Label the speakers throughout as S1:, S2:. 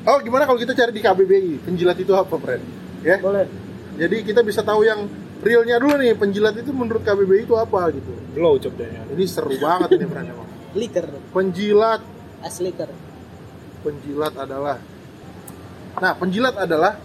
S1: Oh, gimana kalau kita cari di KBBI penjilat itu apa, Fred? Ya.
S2: Boleh.
S1: Jadi kita bisa tahu yang realnya dulu nih, penjilat itu menurut KBBI itu apa gitu.
S3: Blow job deh.
S1: Ini seru banget ini, Fred emang.
S2: Liker,
S1: Penjilat,
S2: as liker.
S1: penjilat adalah Nah, penjilat adalah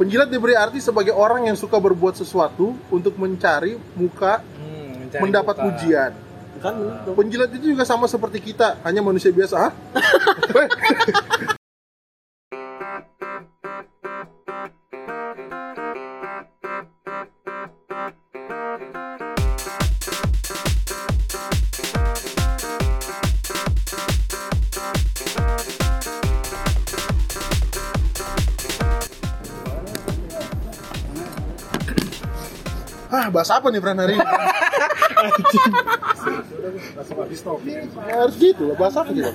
S1: penjilat diberi arti sebagai orang yang suka berbuat sesuatu untuk mencari muka,
S3: Hmm, mencari
S1: mendapat
S3: muka.
S1: pujian.
S2: Kan bener dong.
S1: Penjilat itu juga sama seperti kita, hanya manusia biasa. Hah? Ah, bahas apa nih Fran hari ini? Ya, harus gitu lah, bahas apa gitu.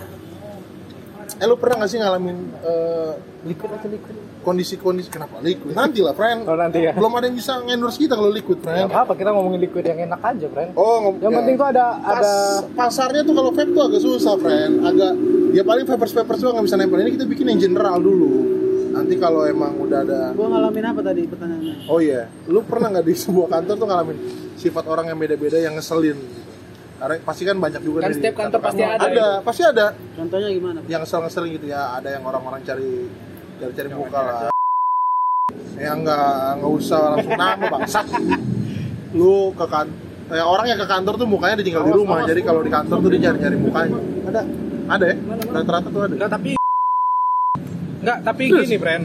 S1: Eh lu pernah gak sih ngalamin eh,
S2: Liker atau liker?
S1: kondisi-kondisi kenapa liquid? Nanti lah, friend.
S3: Oh, nanti ya.
S1: Belum ada yang bisa endorse kita kalau liquid,
S3: Gak
S1: friend.
S3: apa-apa, kita ngomongin liquid yang enak aja, friend.
S1: Oh, ngom-
S3: Yang
S1: ya.
S3: penting tuh ada
S1: Pas-
S3: ada
S1: pasarnya tuh kalau vape tuh agak susah, friend. Agak ya paling vapers vapers doang nggak bisa nempel. Ini kita bikin yang general dulu. Nanti kalau emang udah ada
S2: Gua ngalamin apa tadi pertanyaannya?
S1: Oh iya, lu pernah nggak di sebuah kantor tuh ngalamin sifat orang yang beda-beda yang ngeselin? Gitu? Karena pasti kan banyak juga
S3: Kan
S1: dari
S3: setiap kantor pasti
S1: kantor-kantor.
S3: ada
S1: Ada, pasti ada
S2: Contohnya gimana? Pak?
S1: yang ngesel-ngeselin gitu ya. Ada yang orang-orang cari cari cari muka lah. Ya nggak nggak usah langsung nama bangsat. Lu ke kantor, ya, orang yang ke kantor tuh mukanya ditinggal di rumah. Jadi kalau di kantor tuh dia nyari-nyari mukanya. Ada, ada ya. Rata-rata tuh ada.
S3: Enggak, tapi Enggak, tapi
S1: Terus.
S3: gini, friend.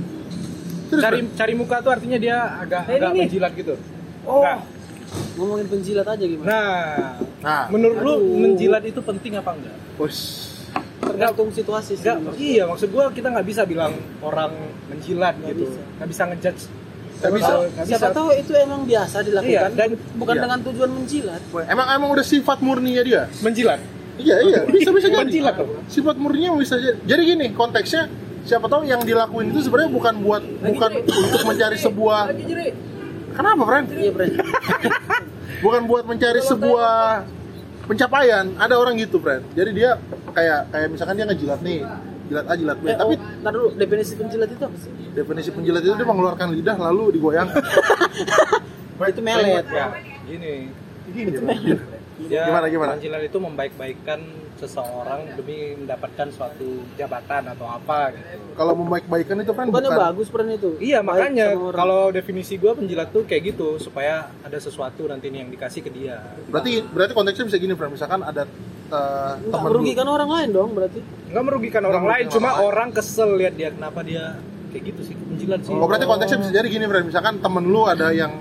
S1: Terus,
S3: Cari cari muka tuh artinya dia agak
S2: Eh,
S3: agak
S2: ini.
S3: menjilat gitu.
S2: Oh.
S3: Nggak.
S2: Ngomongin penjilat aja gimana?
S3: Nah,
S1: Nah,
S3: menurut lu
S2: Aduh.
S3: menjilat itu penting apa enggak?
S1: bos.
S2: Tergantung situasi sih.
S3: Enggak, iya maksud gua kita nggak bisa bilang orang menjilat
S2: Nggak
S3: gitu.
S2: bisa.
S3: Nggak bisa ngejudge.
S1: Nggak bisa.
S3: Kalau- nggak
S2: Siapa
S3: bisa.
S2: tahu itu emang biasa dilakukan
S3: Iya, dan
S2: bukan
S1: iya.
S2: dengan tujuan menjilat.
S1: Emang emang udah sifat murninya dia?
S3: menjilat.
S1: Iya iya bisa bisa jadi.
S3: Menjilat tuh.
S1: Sifat murninya bisa jadi. Jadi gini konteksnya siapa tahu yang dilakuin itu sebenarnya bukan buat bukan untuk mencari sebuah kenapa friend?
S2: Iya, Bren.
S1: Bukan buat mencari
S2: Iya,
S1: sebuah pencapaian. Ada orang gitu friend. Jadi dia kayak kayak misalkan dia ngejilat nih jilat A jilat B.
S2: Eh,
S1: Tapi
S2: oh, ntar dulu definisi penjilat itu apa sih?
S1: definisi penjilat itu dia mengeluarkan lidah lalu digoyang.
S2: itu melet.
S3: Ya, gini.
S2: Iya,
S1: Iya.
S3: Ya,
S1: Gimana, gimana?
S3: Penjilat itu membaik-baikkan seseorang demi mendapatkan suatu jabatan atau apa gitu.
S1: Kalau membaik-baikan itu friend
S2: Bukannya
S1: bukan.
S2: bagus Bren itu?
S3: Iya,
S2: Baik
S3: makanya
S2: sama orang.
S3: kalau definisi gua penjilat tuh kayak gitu supaya ada sesuatu nanti nih yang dikasih ke dia.
S1: Berarti berarti konteksnya bisa gini friend. Misalkan ada eh,
S2: nggak kan
S1: teman lu.
S2: merugikan orang lain dong berarti.
S3: Nggak merugikan
S1: Nggak
S3: orang lain,
S1: merugikan
S3: cuma
S1: orang lain.
S3: orang kesel lihat dia kenapa dia kayak gitu sih, penjilat sih.
S1: Oh, berarti konteksnya bisa jadi gini, Bren. Misalkan temen lu ada yang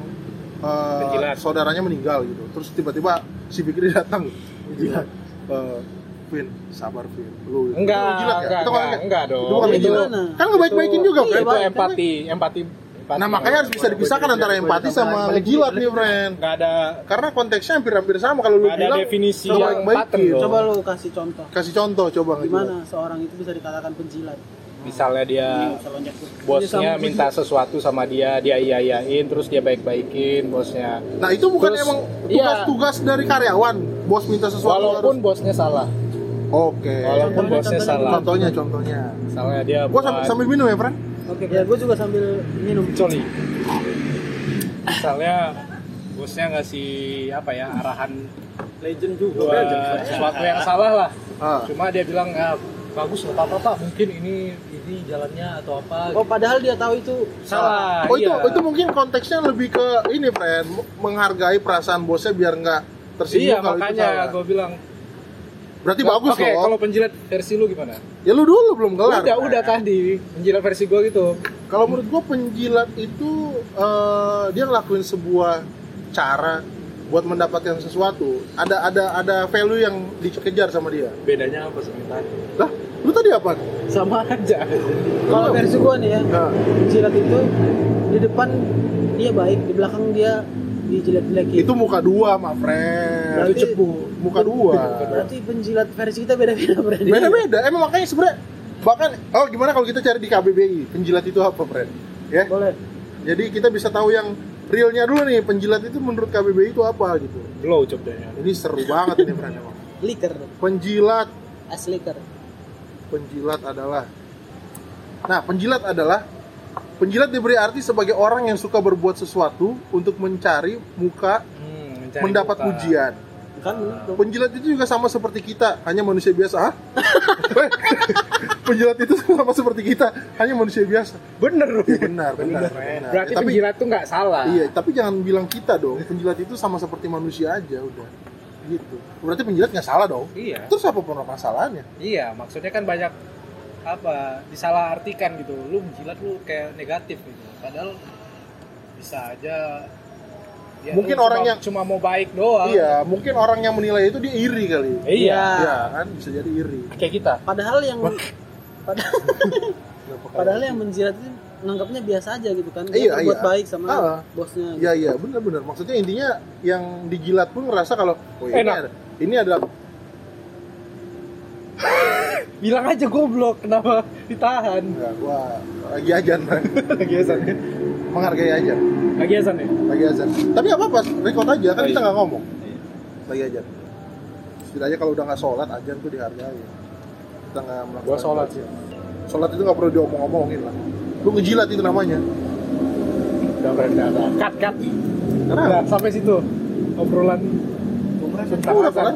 S1: eh,
S3: Penjilat.
S1: saudaranya meninggal gitu. Terus tiba-tiba si Fikri datang. Iya. Eh, Vin, sabar Vin. Lu itu
S3: Enggak,
S1: menjilat nggak?
S3: enggak,
S1: Itu bukan
S3: enggak, enggak dong.
S1: Itu bukan
S2: Itu
S1: menjilat.
S2: gimana?
S1: Kan ngebaik-baikin juga,
S3: Itu,
S1: Bren.
S3: Iya, itu empati, empati, empati.
S1: Nah, makanya harus bisa dipisahkan antara empati sama ngejilat nih, Bren.
S3: Nggak ada
S1: Karena konteksnya hampir-hampir sama kalau lu
S3: Nggak ada
S1: bilang
S3: definisi
S1: nggak
S3: yang
S1: baik-baikin.
S3: paten dong.
S2: Coba lu kasih contoh.
S1: Kasih contoh coba ngejilat.
S2: Gimana seorang itu bisa dikatakan penjilat?
S3: misalnya dia
S2: Ini bisa loncat. Ini
S3: Nah, bosnya
S2: sama
S3: minta sesuatu sama dia, dia iya iyain, terus dia baik baikin bosnya.
S1: Nah, itu bukan
S3: Terus,
S1: emang
S3: iya.
S1: tugas-tugas dari karyawan. Bos minta sesuatu
S3: Walaupun
S1: harus-
S3: bosnya salah,
S1: Oke.
S2: Contohnya,
S3: walaupun bosnya
S2: contohnya,
S3: salah,
S1: Contohnya, contohnya.
S3: misalnya dia
S1: Gua
S3: buat
S1: sambil, sambil minum ya, Bren.
S2: Oke, ya gue juga sambil minum.
S3: coli. Misalnya bosnya ngasih apa ya arahan
S2: Legend juga.
S1: Iya,
S3: buat sesuatu yang salah lah.
S1: Ah.
S3: Cuma dia bilang nggak bagus nggak apa-apa pak mungkin ini ini jalannya atau apa
S2: Oh, padahal dia tahu itu
S3: salah
S1: Oh itu
S3: iya.
S1: itu mungkin konteksnya lebih ke ini, friend, menghargai perasaan bosnya biar nggak
S3: iya
S1: tersinggung kalau itu salah.
S3: makanya gue bilang
S1: Berarti bagus
S3: Oke,
S1: loh.
S3: kalau penjilat versi lu gimana?
S1: Ya lu dulu belum kelar.
S3: udah, udah tadi penjilat versi gua gitu.
S1: Kalau menurut gua penjilat itu eh, dia ngelakuin sebuah cara buat mendapatkan sesuatu. Ada ada ada value yang dikejar sama dia.
S3: Bedanya apa sih tadi?
S1: Lah, lu tadi apa?
S3: Sama aja.
S2: kalau versi gue nih ya,
S1: Nah,
S2: penjilat itu di depan dia baik, di belakang dia gitu. dijilat-jilatin.
S1: itu muka dua, ma friend.
S2: Berarti-
S1: Itu cepu, muka dua.
S2: berarti penjilat versi kita beda-beda berarti.
S1: beda-beda emang makanya sebenarnya bahkan oh gimana kalau kita cari di KBBI penjilat itu apa friend ya
S2: Iya, Boleh.
S1: jadi kita bisa tahu yang realnya dulu nih penjilat itu menurut KBBI itu apa gitu
S3: Blow job dayanya.
S1: ini seru banget ini friend emang
S2: Liker,
S1: penjilat
S2: as liker.
S1: penjilat adalah Nah, penjilat adalah penjilat diberi arti sebagai orang yang suka berbuat sesuatu untuk mencari muka
S3: Hmm, mencari
S1: mendapat
S3: muka.
S1: pujian.
S2: kan bener dong
S1: Penjilat itu juga sama seperti kita, hanya manusia biasa. Hah? penjilat itu sama seperti kita, hanya manusia biasa.
S4: Bener dong.
S1: Iya benar, benar. benar.
S4: Berarti
S1: Ya, tapi
S4: penjilat tuh nggak salah.
S1: iya, tapi jangan bilang kita dong. Penjilat itu sama seperti manusia aja udah. Gitu. Berarti penjilat nggak salah dong.
S3: Iya,
S1: Terus apa permasalahannya?
S3: iya. Maksudnya kan banyak apa disalahartikan gitu. Lu menjilat lu kayak negatif gitu. Padahal bisa aja ya,
S1: Mungkin
S3: lu
S1: orang
S3: cuma-
S1: yang-
S3: cuma mau baik doang.
S1: Iya, mungkin orang yang menilai itu dia iri kali.
S4: Iya.
S1: Iya kan, bisa jadi iri.
S4: Kayak kita.
S2: padahal yang pada-
S1: Kenapa kayak
S2: padahal
S1: gitu?
S2: yang menjilat itu nganggapnya biasa aja gitu kan
S1: Iya,
S2: dia buat
S1: iya.
S2: baik sama
S1: Ah.
S2: bosnya
S1: Iya iya benar-benar. Maksudnya intinya yang digilat pun ngerasa kalau oh, ini
S4: Enak.
S1: ada, ini ada
S3: Bilang aja goblok kenapa ditahan.
S1: enggak gua lagi ajan
S4: Lagi azan ya?
S1: menghargai aja
S4: Lagi azan ya?
S1: lagi ajan tapi apa apa record aja kan
S4: Oh,
S1: kita
S4: iya.
S1: nggak ngomong
S4: Iya.
S1: lagi ajan setidaknya kalau udah nggak sholat ajan tuh dihargai kita nggak melakukan
S4: Gua sholat sih.
S1: sholat itu nggak perlu diomong-omongin lah lu ngejilat itu namanya
S4: Udah berendam. Cut, cut.
S1: kenapa
S4: Udah, sampai situ. Obrolan tentang
S1: Udah,
S4: azan.
S1: kan?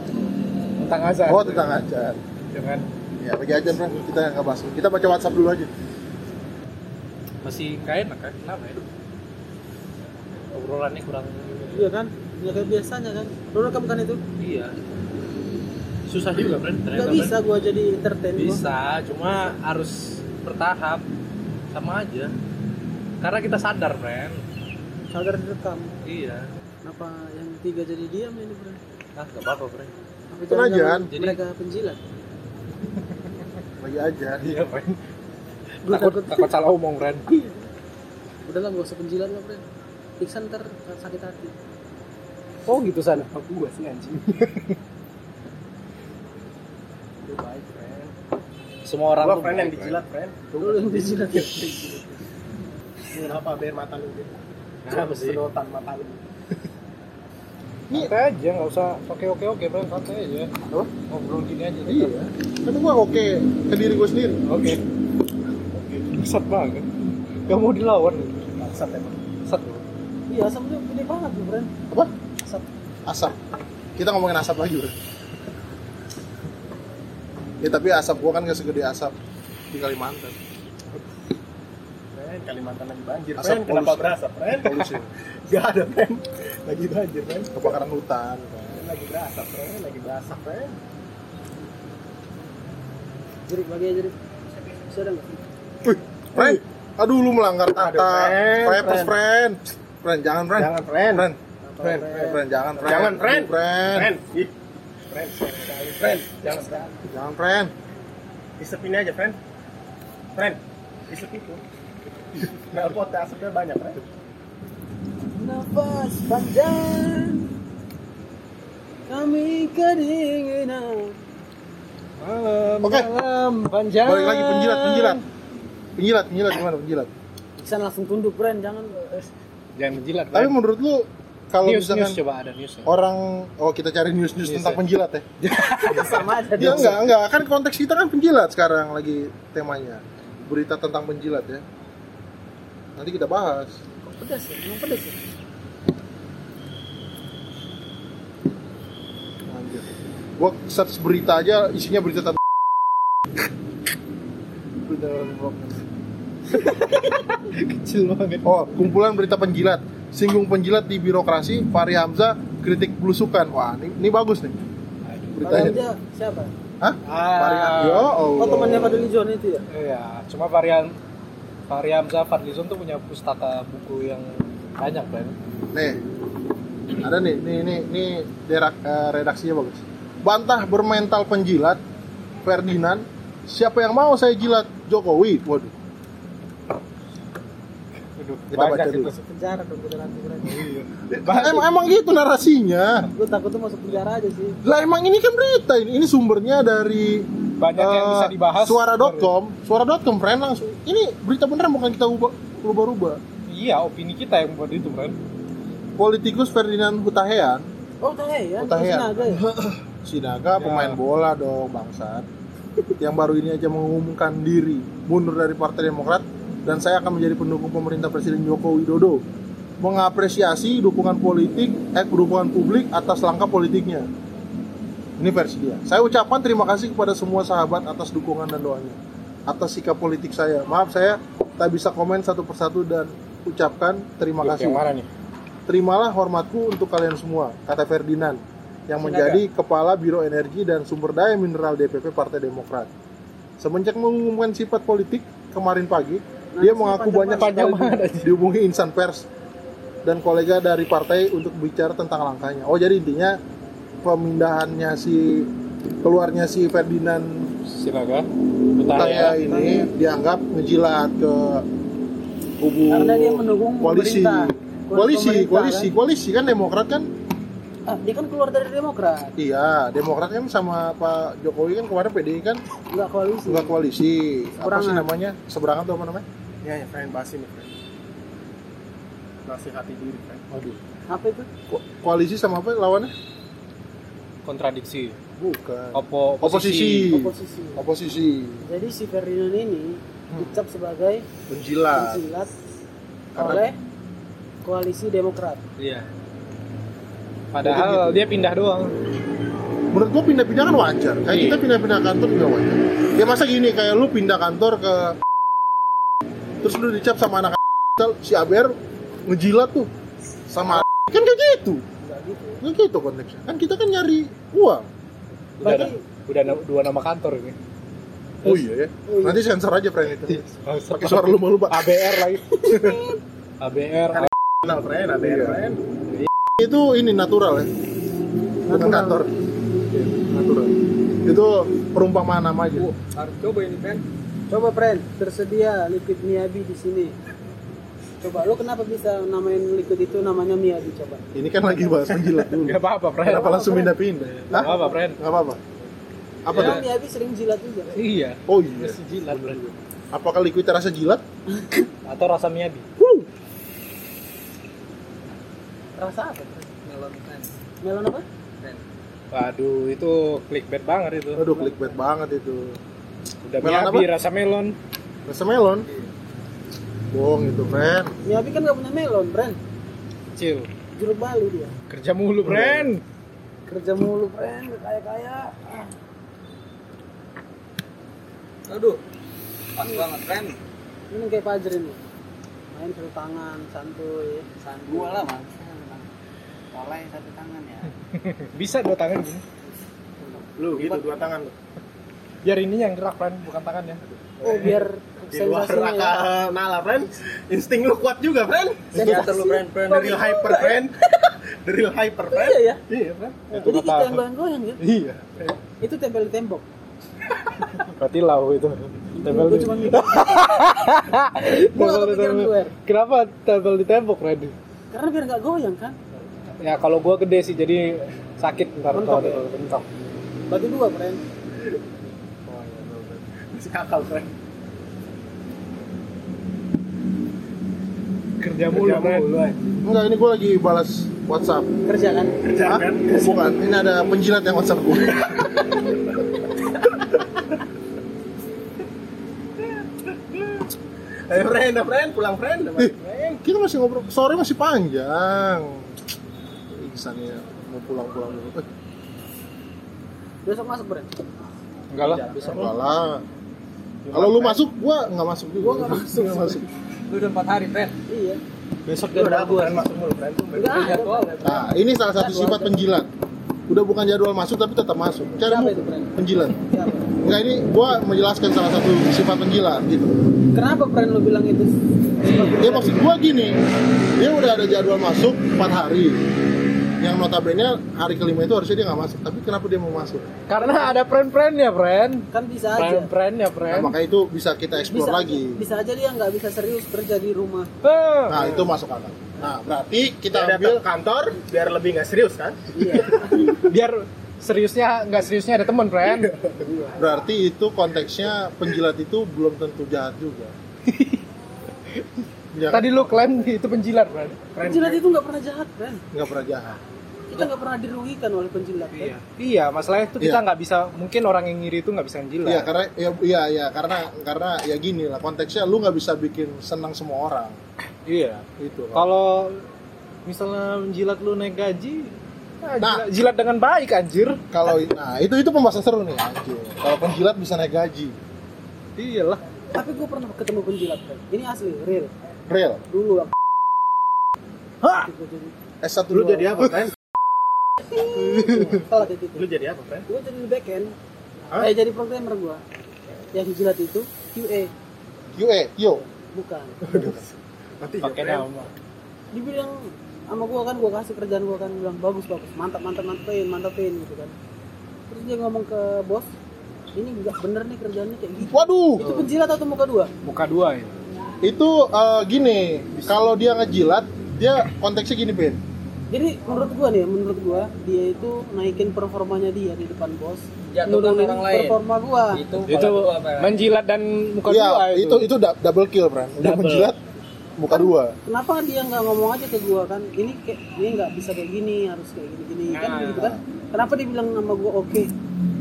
S4: Tentang Iya kan? azan.
S1: oh tentang ajan
S4: Jangan.
S1: ya lagi ajan bro kita nggak bahas kita baca WhatsApp dulu aja
S3: Masih gak enak kan? Kenapa ya? Obrolannya kurang
S2: Iya kan nggak kayak biasanya kan lu rekam kan itu
S3: iya. Susah juga, Bren. Ternyata,
S2: nggak
S3: Bren.
S2: bisa gua jadi entertain gua.
S3: Iya, Bisa, cuma harus bertahap sama aja. Karena kita sadar, friend.
S2: sadar direkam
S3: Iya.
S2: apa yang tiga jadi diam ini bro
S3: Ah, gak apa-apa, friend.
S2: apa
S1: Tenang,
S2: jangan-jangan
S1: Jan.
S3: Jadi-
S2: mereka penjilat
S1: lagi ajan
S3: Iya, friend.
S2: Gua
S4: Takut,
S2: takut.
S4: takut salah omong, Ren.
S2: udah lah gak usah penjilat lah bro Iksan ntar sakit hati
S4: Oh gitu, San. Aku gua sih anjing.
S3: Lu baik, friend. Semua orang tuh baik,
S4: friend.
S2: lu yang penjilat
S4: Kenapa biar mata lu gitu?
S3: friend. Kenapa sih?
S4: Sedotan mata lu. Santai aja, nggak usah oke oke oke, Bro. Santai aja.
S1: Apa?
S4: Ngobrol gini aja.
S1: iya kan gua oke ke diri gua sendiri
S4: Oke. Sat banget. Gak mau dilawan. Sat emang. Sat.
S2: iya asam lu gede banget bro
S1: apa
S2: asap
S1: asap kita ngomongin asap lagi bro ya tapi asap gua kan gak segede asap di Kalimantan
S4: Ren, Kalimantan lagi banjir.
S1: Asap
S4: Ren, kenapa
S1: polusi.
S4: berasap, Ren?
S1: polusi
S4: Gak ada, Ren. Lagi banjir, Ren.
S1: kebakaran hutan kan.
S4: Ren, Lagi berasap, Ren. Lagi berasap, Ren.
S2: jerik bagi aja jerik bisa ada nggak
S1: Wih, friend aduh lu melanggar
S4: Aduh,
S1: tata
S4: friend,
S1: Frepes
S4: friend.
S1: friend friend jangan friend
S4: Jangan, Ren.
S1: friend
S4: Ren, Ren.
S1: friend jangan friend
S4: Jangan, friend.
S1: Aduh, friend
S4: Ren. Ih. Ren, sayang sekali. Ren, jangan sekali.
S1: jangan friend
S4: Isepin aja, Ren. Ren, isep itu. Melpot asapnya banyak, Ren.
S2: nafas panjang kami kedinginan
S4: Malam,
S1: Oke.
S4: malam, panjang.
S1: balik lagi penjilat penjilat penjilat penjilat gimana penjilat
S2: Iksan langsung tunduk bro jangan
S1: Iya.
S4: Jangan menjilat,
S1: tapi menurut lu kalau
S4: news,
S1: misalkan
S4: news, coba ada news.
S1: orang oh kita cari news news
S4: News,
S1: tentang
S4: ya.
S1: penjilat ya
S2: sama aja
S1: Ya enggak, enggak. Kan konteks kita kan penjilat sekarang lagi temanya. Berita tentang penjilat ya. Nanti kita bahas.
S2: Kok pedas ya emang pedas ya
S1: Anjir. Gua search berita aja isinya berita tentang Berita orang blok.
S4: Kecil banget.
S1: Oh, kumpulan berita penjilat. Singgung penjilat di birokrasi, Fahri Hamzah kritik belusukan. Wah, ini, ini bagus nih
S2: Kalau
S1: beritanya.
S2: aja siapa
S1: Hah? Fahri Hamzah. Ya
S2: oh
S1: Allah.
S2: temannya Fadli John itu ya
S4: Ah. Iya, cuma varian varian Hamzah Fadlizon tuh punya pustaka buku yang banyak kan.
S1: Nih, ada nih, nih, nih, nih derak- eh, redaksinya bagus. Bantah bermental penjilat, Ferdinand. Siapa yang mau saya jilat? Jokowi. Waduh,
S4: Aduh,
S1: Kita baca dulu.
S4: itu.
S2: penjara dong kita nanti bro
S1: Em- emang gitu narasinya.
S2: gue takut tuh masuk penjara aja sih
S1: Lah emang ini kan berita ini, ini sumbernya dari
S4: Banyak yang
S1: eh,
S4: bisa dibahas.
S1: Suara.com, suara.com, friend langsung. Ini berita beneran bukan kita ubah- ubah-ubah.
S4: Iya, opini kita yang buat itu kan.
S1: Politikus Ferdinand Hutahian,
S2: oh tanya ya
S1: Tahe ya?
S2: Sinaga ya
S1: Sinaga pemain
S4: Ya.
S1: bola dong bangsat. yang baru ini aja mengumumkan diri mundur dari Partai Demokrat dan saya akan menjadi pendukung pemerintah Presiden Joko Widodo mengapresiasi dukungan politik eh dukungan publik atas langkah politiknya ini versi dia saya ucapkan terima kasih kepada semua sahabat atas dukungan dan doanya atas sikap politik saya maaf saya tak bisa komen satu persatu dan ucapkan terima kasih
S3: Yang mana nih?
S1: Terimalah hormatku untuk kalian semua, kata Ferdinand, yang menjadi Kepala Biro Energi dan Sumber Daya Mineral DPP Partai Demokrat. Semenjak mengumumkan sifat politik kemarin pagi,
S2: Nah,
S1: dia mengaku banyak sekali di- dihubungi insan pers dan kolega dari partai untuk bicara tentang langkahnya. Oh, jadi intinya pemindahannya si keluarnya si Ferdinand
S3: Sinaga.
S1: Utaya
S4: ya.
S1: ya.
S3: Utaya.
S1: ini dianggap ngejilat ke kubu
S2: Karena dia mendukung
S1: koalisi
S2: pemerintah.
S1: koalisi
S2: Pemerintah,
S1: koalisi koalisi kan demokrat kan
S2: Ah, dia kan keluar dari Demokrat,
S1: iya demokrat kan sama pak jokowi kan kemarin pdi kan
S2: nggak koalisi.
S1: nggak koalisi apa sih
S2: Seberangan.
S1: namanya seberangan tuh apa namanya
S5: Ya, ya, friend, bahasin nih, friend. Nasihati diri, friend.
S1: Waduh.
S2: Apa itu?
S1: Ko- koalisi sama apa lawannya
S3: Kontradiksi.
S1: bukan
S3: Opo
S1: oposisi
S2: Oposisi.
S1: oposisi
S2: Jadi si Ferdinand ini
S1: Hmm.
S2: dicap sebagai
S1: menjilat
S2: penjilat
S1: Ah. Karena-
S2: oleh koalisi Demokrat.
S3: Iya.
S1: gitu.
S3: Padahal dia pindah doang.
S1: menurut gua pindah-pindah kan wajar kayak
S3: Iya.
S1: kita pindah-pindah kantor juga wajar ya masa gini kayak lu pindah kantor ke terus lu dicap sama anak si ABR ngejilat tuh sama kan kayak gitu
S2: Nggak gitu.
S1: kan gitu konteksnya kan kita kan nyari uang
S3: Udah,
S2: Berarti-
S3: ada- udah ada dua nama kantor ini.
S1: oh iya ya
S2: Oh iya.
S1: nanti sensor aja friend itu
S3: Oh,
S1: pakai suara lu malu pak
S3: ABR lagi. ABR.
S5: Kenal, friend, ada
S1: Iya.
S5: yang friend.
S1: itu ini natural ya dengan kantor Iya, natural itu perumpamaan nama aja
S3: Harus coba ini kan.
S2: Coba friend, tersedia liquid Miyabi di sini. Coba lo kenapa bisa namain liquid itu namanya Miyabi coba?
S1: ini kan lagi bahas menjilat dulu
S3: Gak apa-apa, Pren.
S1: kenapa langsung pindah-pindah
S3: Gak
S1: Hah?
S3: apa-apa, Pren.
S1: nggak apa-apa apa
S2: Karena
S1: tuh
S2: Miyabi sering jilat juga.
S3: Iya.
S1: oh iya
S3: Masih jilat, Pren.
S1: Apakah liquid terasa jilat?
S3: Atau rasa miyabi.
S2: Rasa apa? Melon apa?
S3: Waduh, itu clickbait banget itu.
S1: Aduh, clickbait banget itu.
S3: Udah
S1: Melon
S3: miyabi,
S1: apa?
S3: rasa melon.
S1: Rasa melon.
S2: Iya.
S1: Bohong itu, friend.
S2: Miyabi kan gak punya melon, friend.
S3: Cil.
S2: Jeruk Bali dia.
S3: Kerja mulu, Pren.
S2: Kerja mulu, friend. Gak Kaya-kaya. Ah,
S6: Aduh, pas banget Ren.
S2: Ini kayak pajer ini. Main satu tangan, santuy. Santuy.
S6: Gua lah man. Mulai satu tangan ya.
S3: Bisa dua tangan gini.
S5: Lu, gitu, dua tangan lu.
S3: Biar ini yang gerak, Pren, bukan tangannya.
S2: Oh, biar
S5: Di luar
S2: sensasinya
S5: raka
S2: ya.
S5: nala, friend. Insting lu kuat juga, friend.
S2: Sensasi.
S5: Lu, friend, friend. The real hyper, friend. The real hyper, friend.
S2: Iya ya.
S3: Iya, Pren.
S2: Jadi kita yang goyang-goyang ya.
S3: Iya.
S2: Itu tempel di tembok.
S3: Berarti lau itu. Tempel
S2: Gua
S3: di-
S2: cuma mikir. Gua gak
S3: Tempel di
S2: kepikiran
S3: tembok.
S2: luar.
S3: Kenapa tempel di tembok, Pren?
S2: Karena biar gak goyang kan.
S3: Ya kalau gua gede sih jadi sakit ntar
S2: Mentok
S3: kalau
S2: ya?
S3: ada- mentok.
S2: Bagi dua, friend.
S5: Masih akal, friend.
S3: Kerja mulu,
S5: Kerja
S3: Pren.
S5: mulu, eh.
S1: Enggak, ini gue lagi balas WhatsApp.
S2: Kerja kan.
S5: Kerja,
S1: Hah?
S5: friend.
S1: Bukan, ini ada penjilat yang WhatsApp gue.
S5: Eh, friend, eh, friend. Pulang, friend.
S1: Ih, kita masih ngobrol. Sore masih panjang. Iksan ya, mau pulang-pulang dulu. Eh,
S2: Besok masuk, friend.
S3: Enggak lah, Iya, bisa
S1: enggak lah. Kalau lu masuk, gue nggak masuk juga. Gue nggak masuk. masuk.
S6: Lu udah 4 hari Ren.
S2: Iya.
S3: besok
S5: Lu udah
S3: jadwal
S5: aku, friend. Masuk mulu, friend.
S2: Enggak ada.
S1: Nah, ini salah satu sifat penjilat. Udah bukan jadwal masuk, tapi tetap masuk. Cara
S2: Siapa
S1: mu
S2: itu, friend?
S1: penjilat.
S2: Siapa?
S1: Enggak, ini gue menjelaskan salah satu sifat penjilat gitu.
S2: Kenapa friend lo bilang itu?
S1: Ya maksud gua gini, dia udah ada jadwal masuk 4 hari. Yang notabene hari kelima itu harusnya dia nggak masuk, tapi kenapa dia mau masuk?
S3: Karena ada pren-prennya, pren.
S2: Kan bisa aja.
S3: Pren-prennya,
S1: Nah,
S3: pren.
S1: makanya itu bisa kita eksplor
S2: Bisa,
S1: lagi.
S2: bisa aja dia nggak bisa serius kerja di rumah.
S3: Eh,
S1: Nah, itu masuk akal. Nah, berarti kita
S5: Kita
S1: ambil
S5: datang ke kantor biar lebih nggak serius, kan?
S2: Iya.
S3: biar seriusnya nggak seriusnya ada temen, pren.
S5: Iya.
S1: berarti itu konteksnya penjilat itu belum tentu jahat juga. Ya, Iya.
S3: Tadi lu klaim itu penjilat, pren.
S5: Friend.
S2: Jilat itu nggak pernah jahat, friend.
S1: nggak pernah jahat.
S2: kita nggak pernah dirugikan oleh penjilat kan?
S7: Iya.
S3: Iya, masalahnya itu kita
S1: Iya.
S3: nggak bisa, mungkin orang yang ngiri itu nggak bisa ngejilat.
S1: Iya karena ya, iya iya karena karena ya gini lah konteksnya lu nggak bisa bikin senang semua orang gitu
S3: Iya.
S1: itu.
S3: Kalau misalnya menjilat lu naik gaji, nah,
S1: Nah.
S3: jilat, jilat dengan baik anjir.
S1: Kalau nah itu itu pembahasan seru nih anjir. Kalau penjilat bisa naik gaji.
S3: Iyalah.
S2: tapi gue pernah ketemu penjilat kan ini asli real
S1: Real.
S2: dulu lah
S3: Hah?
S2: gue jadi
S1: S1
S8: Lu jadi apa, Friend?
S2: telat itu
S8: Lu jadi apa, Friend?
S2: gue gitu. jadi di backend
S8: Hah?
S2: eh jadi programmer gue yang dijilat itu QA
S1: QA, E, yo.
S2: bukan
S8: Mati ya,
S3: Pakai
S8: Friend.
S3: nama.
S2: dibilang sama gue kan gue kasih kerjaan gue kan bilang bagus bagus mantap mantap mantapin mantapin gitu kan terus dia ngomong ke bos ini nggak bener nih kerjaannya kayak gitu itu
S1: Waduh,
S2: penjilat atau muka dua
S3: Muka dua ya.
S1: itu eh, gini, kalau dia ngejilat, dia konteksnya gini, Ben.
S2: jadi menurut gua nih menurut gua dia itu naikin performanya dia di depan bos
S9: Jatuhkan
S2: nurunin
S9: orang lain.
S2: performa gua
S9: itu
S3: Itu
S9: kalau gua apa ya?
S3: menjilat dan muka dua
S1: Iya, itu
S3: itu.
S1: itu da- double kill, Bran. Udah
S3: Double.
S1: menjilat muka dua.
S2: kenapa dia nggak ngomong aja ke gua kan ini kayak ini nggak bisa kayak gini harus kayak gini gini kan
S3: Nah.
S2: gitu kan kenapa dibilang sama gua oke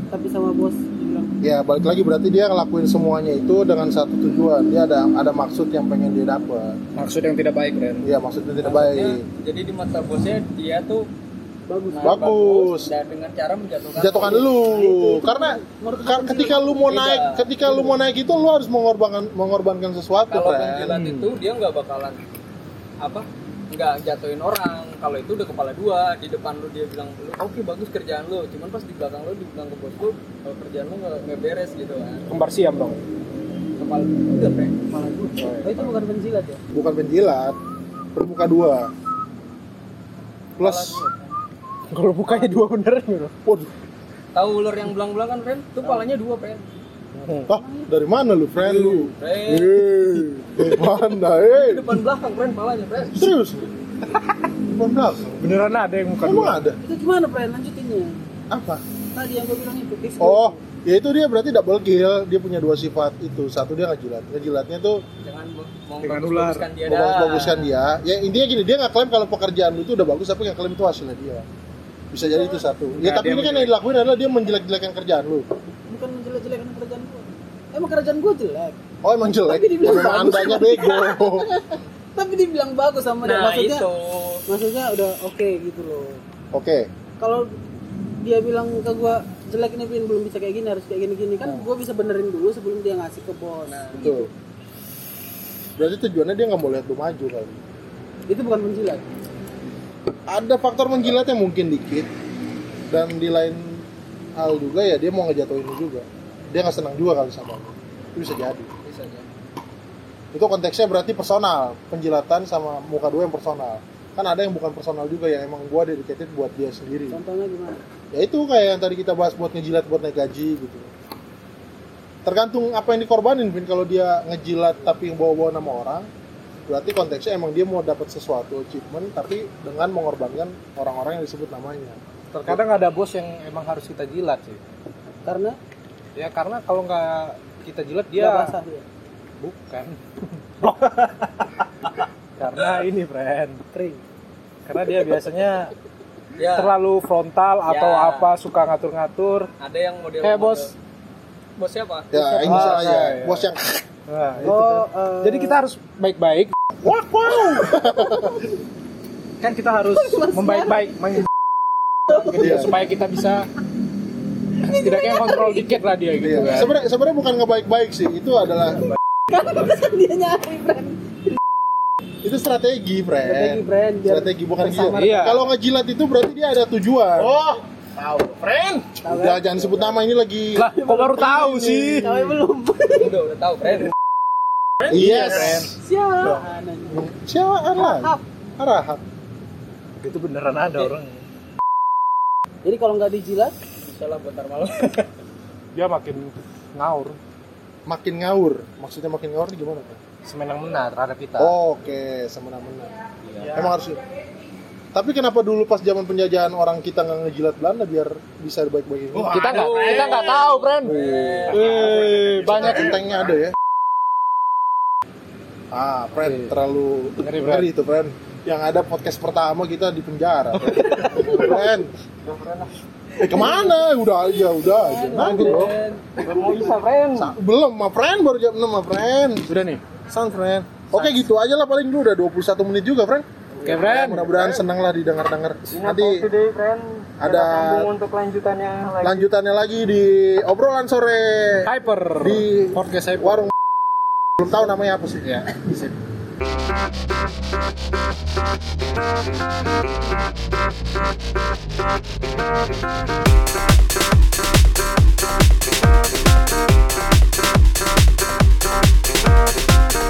S2: tapi sama bos dibilang
S1: Ya, balik lagi berarti dia ngelakuin semuanya itu dengan satu tujuan. Dia ada ada maksud yang pengen dia dapat.
S3: Maksud yang tidak baik, Ren.
S1: Iya, maksudnya tidak
S9: Maksudnya,
S1: baik.
S9: jadi di mata bosnya dia tuh
S2: bagus
S9: nah,
S1: Bagus.
S9: dan dengan cara menjatuhkan
S1: Jatuhkan
S9: bos.
S1: lu.
S2: itu- itu
S1: Karena
S2: menurut
S1: ka- ketika lu mau
S9: Beda.
S1: naik, ketika lu mau naik itu lu harus mengorbankan mengorbankan sesuatu,
S9: kalau
S1: Bran.
S9: penjilat itu dia nggak bakalan apa nggak jatuhin orang kalau itu udah kepala dua di depan lu dia bilang lu oke bagus kerjaan lu cuman pas di belakang lu dibilang ke bos lu kalau kerjaan lu nggak nggak beres gitu kan
S3: Kembar siam dong.
S9: kepala udah Frank.
S2: malah gua oh, itu bukan penjilat ya
S1: Bukan penjilat, bermuka dua. Plus,
S3: Kalau mukanya dua beneran gitu.
S1: waduh,
S9: tahu ular yang belang-belang kan Ren tuh palanya dua Ren
S1: ah, dari mana lu, friend lu?
S9: Ren
S1: Eh, dari mana?
S9: di
S1: Eh,
S9: depan belakang Ren palanya Ren
S1: serius? Bukan belakang.
S3: Beneran ada yang muka
S1: Emang
S3: dua.
S1: ada?
S2: itu gimana ya." Brian lanjutinnya
S1: Apa?
S2: tadi yang gua bilang itu fix
S1: Oh, ya itu dia berarti double kill. Dia punya dua sifat itu. Satu dia ngejilat. Ngejilatnya tuh
S9: jangan mau
S3: Dengan
S9: bagus-baguskan dia dah
S1: bagus-baguskan dia. Ya intinya gini, dia nggak klaim kalau pekerjaan lu itu udah bagus, tapi nggak klaim itu hasilnya dia. Bisa jadi itu satu. Ya
S3: Nggak,
S1: tapi
S3: dia
S1: ini kan yang dilakuin adalah dia menjelek-jelekan kerjaan lu.
S2: bukan menjelek-jelekan kerjaan gua emang kerjaan gua jelek
S1: Oh emang jelek.
S2: Tapi dibilang
S1: Memang
S2: bagus.
S1: andanya bego.
S2: tapi dibilang bagus sama dia
S9: nah
S2: maksudnya
S9: itu
S2: maksudnya udah oke gitu loh
S1: Oke.
S2: kalau dia bilang ke gua jelek ini Vin, belum bisa kayak gini harus kayak gini gini kan gua bisa benerin dulu sebelum dia ngasih ke bos
S9: Nah.
S1: Betul. Berarti tujuannya dia nggak mau lihat lu maju kali.
S2: itu bukan menjilat
S1: Ada faktor menjilatnya mungkin dikit. Dan di lain hal juga ya dia mau ngejatuhin lu juga. Dia nggak senang juga kali sama lu. Itu bisa jadi.
S9: bisa jadi
S1: Itu konteksnya berarti personal. Penjilatan sama muka dua yang personal. Kan ada yang bukan personal juga yang emang gua dedicated buat dia sendiri.
S2: contohnya gimana
S1: ya itu kayak yang tadi kita bahas buat ngejilat buat naik gaji gitu tergantung apa yang dikorbanin Vin kalau dia ngejilat tapi bawa-bawa nama orang berarti konteksnya emang dia mau dapat sesuatu achievement tapi dengan mengorbankan orang-orang yang disebut namanya
S3: Terkadang ada bos yang emang harus kita jilat sih.
S2: karena
S3: Ya karena kalau nggak kita jilat
S9: Iya.
S2: dia
S3: dia
S2: basah dia
S3: bukan. karena ini, friend.
S2: kering
S3: Karena dia biasanya
S9: ya
S3: terlalu frontal atau
S9: Ya.
S3: apa suka ngatur-ngatur.
S9: ada yang model
S3: Kayak bos.
S9: bos siapa
S1: ya ini
S3: Ah,
S1: salahnya
S3: ya, ya.
S1: bos yang
S3: Nah, itu
S2: oh
S3: tuh.
S2: eh,
S3: Jadi kita harus baik-baik. Wah, wow. kan kita harus membaik-baik main gitu,
S1: Iya.
S3: supaya kita bisa setidaknya kontrol dikit lah dia gitu
S1: iya.
S3: kan.
S1: sebenarnya sebenarnya bukan ngebaik-baik sih itu adalah
S2: Kan dia nyari friend
S1: itu strategi
S2: strategi
S1: friend
S2: friend biar
S1: Eh, strategi bukan
S2: bersamar.
S1: jilat
S3: Iya.
S1: kalau ngejilat itu berarti dia ada tujuan
S8: Oh, tahu, Friend.
S2: tahu
S1: Udah,
S2: kan?
S1: jangan sebut nama ini lagi
S3: Lah, kok baru tahu sih?
S9: Iya.
S2: Tahu ya belum
S9: udah udah tahu Eh, Ren
S1: yes Iya,
S2: siapa
S1: siapa Arhan
S2: Hap.
S1: Arhan
S3: Itu beneran ada orang.
S2: jadi kalau nggak dijilat
S9: bisa lah bentar malam
S3: Dia makin ngaur,
S1: makin ngaur maksudnya makin ngaur itu gimana Pak? Oh,
S3: semenang-mena terhadap kita.
S1: Oke, semena-mena. Emang harus. Tapi kenapa dulu pas zaman penjajahan orang kita nggak ngejilat Belanda biar bisa baik-baikin?
S8: Wah,
S3: Kita nggak kita nggak tahu, friend. Eh, banyak
S1: entengnya ada ya. Ah, friend, terlalu
S3: Ngeri,
S1: ngeri,
S3: friend.
S1: itu friend. yang ada podcast pertama kita di penjara. Keren. Eh kemana? Udah aja, udah aja. Nanti bro.
S9: mau bisa friend
S1: Sa- belum, ma friend baru jam 6 ma friend.
S10: Sudah nih.
S1: Sang friend. Oke gitu aja lah paling dulu udah 21 menit juga friend.
S10: Oke, friend.
S1: Mudah-mudahan seneng lah didengar-dengar. Nanti
S9: friend
S1: ada
S9: untuk lanjutannya lagi
S1: lanjutannya lagi di obrolan sore
S10: Hyper.
S1: Di-
S10: podcast Hyper.
S1: warung belum tahu namanya apa sih ya.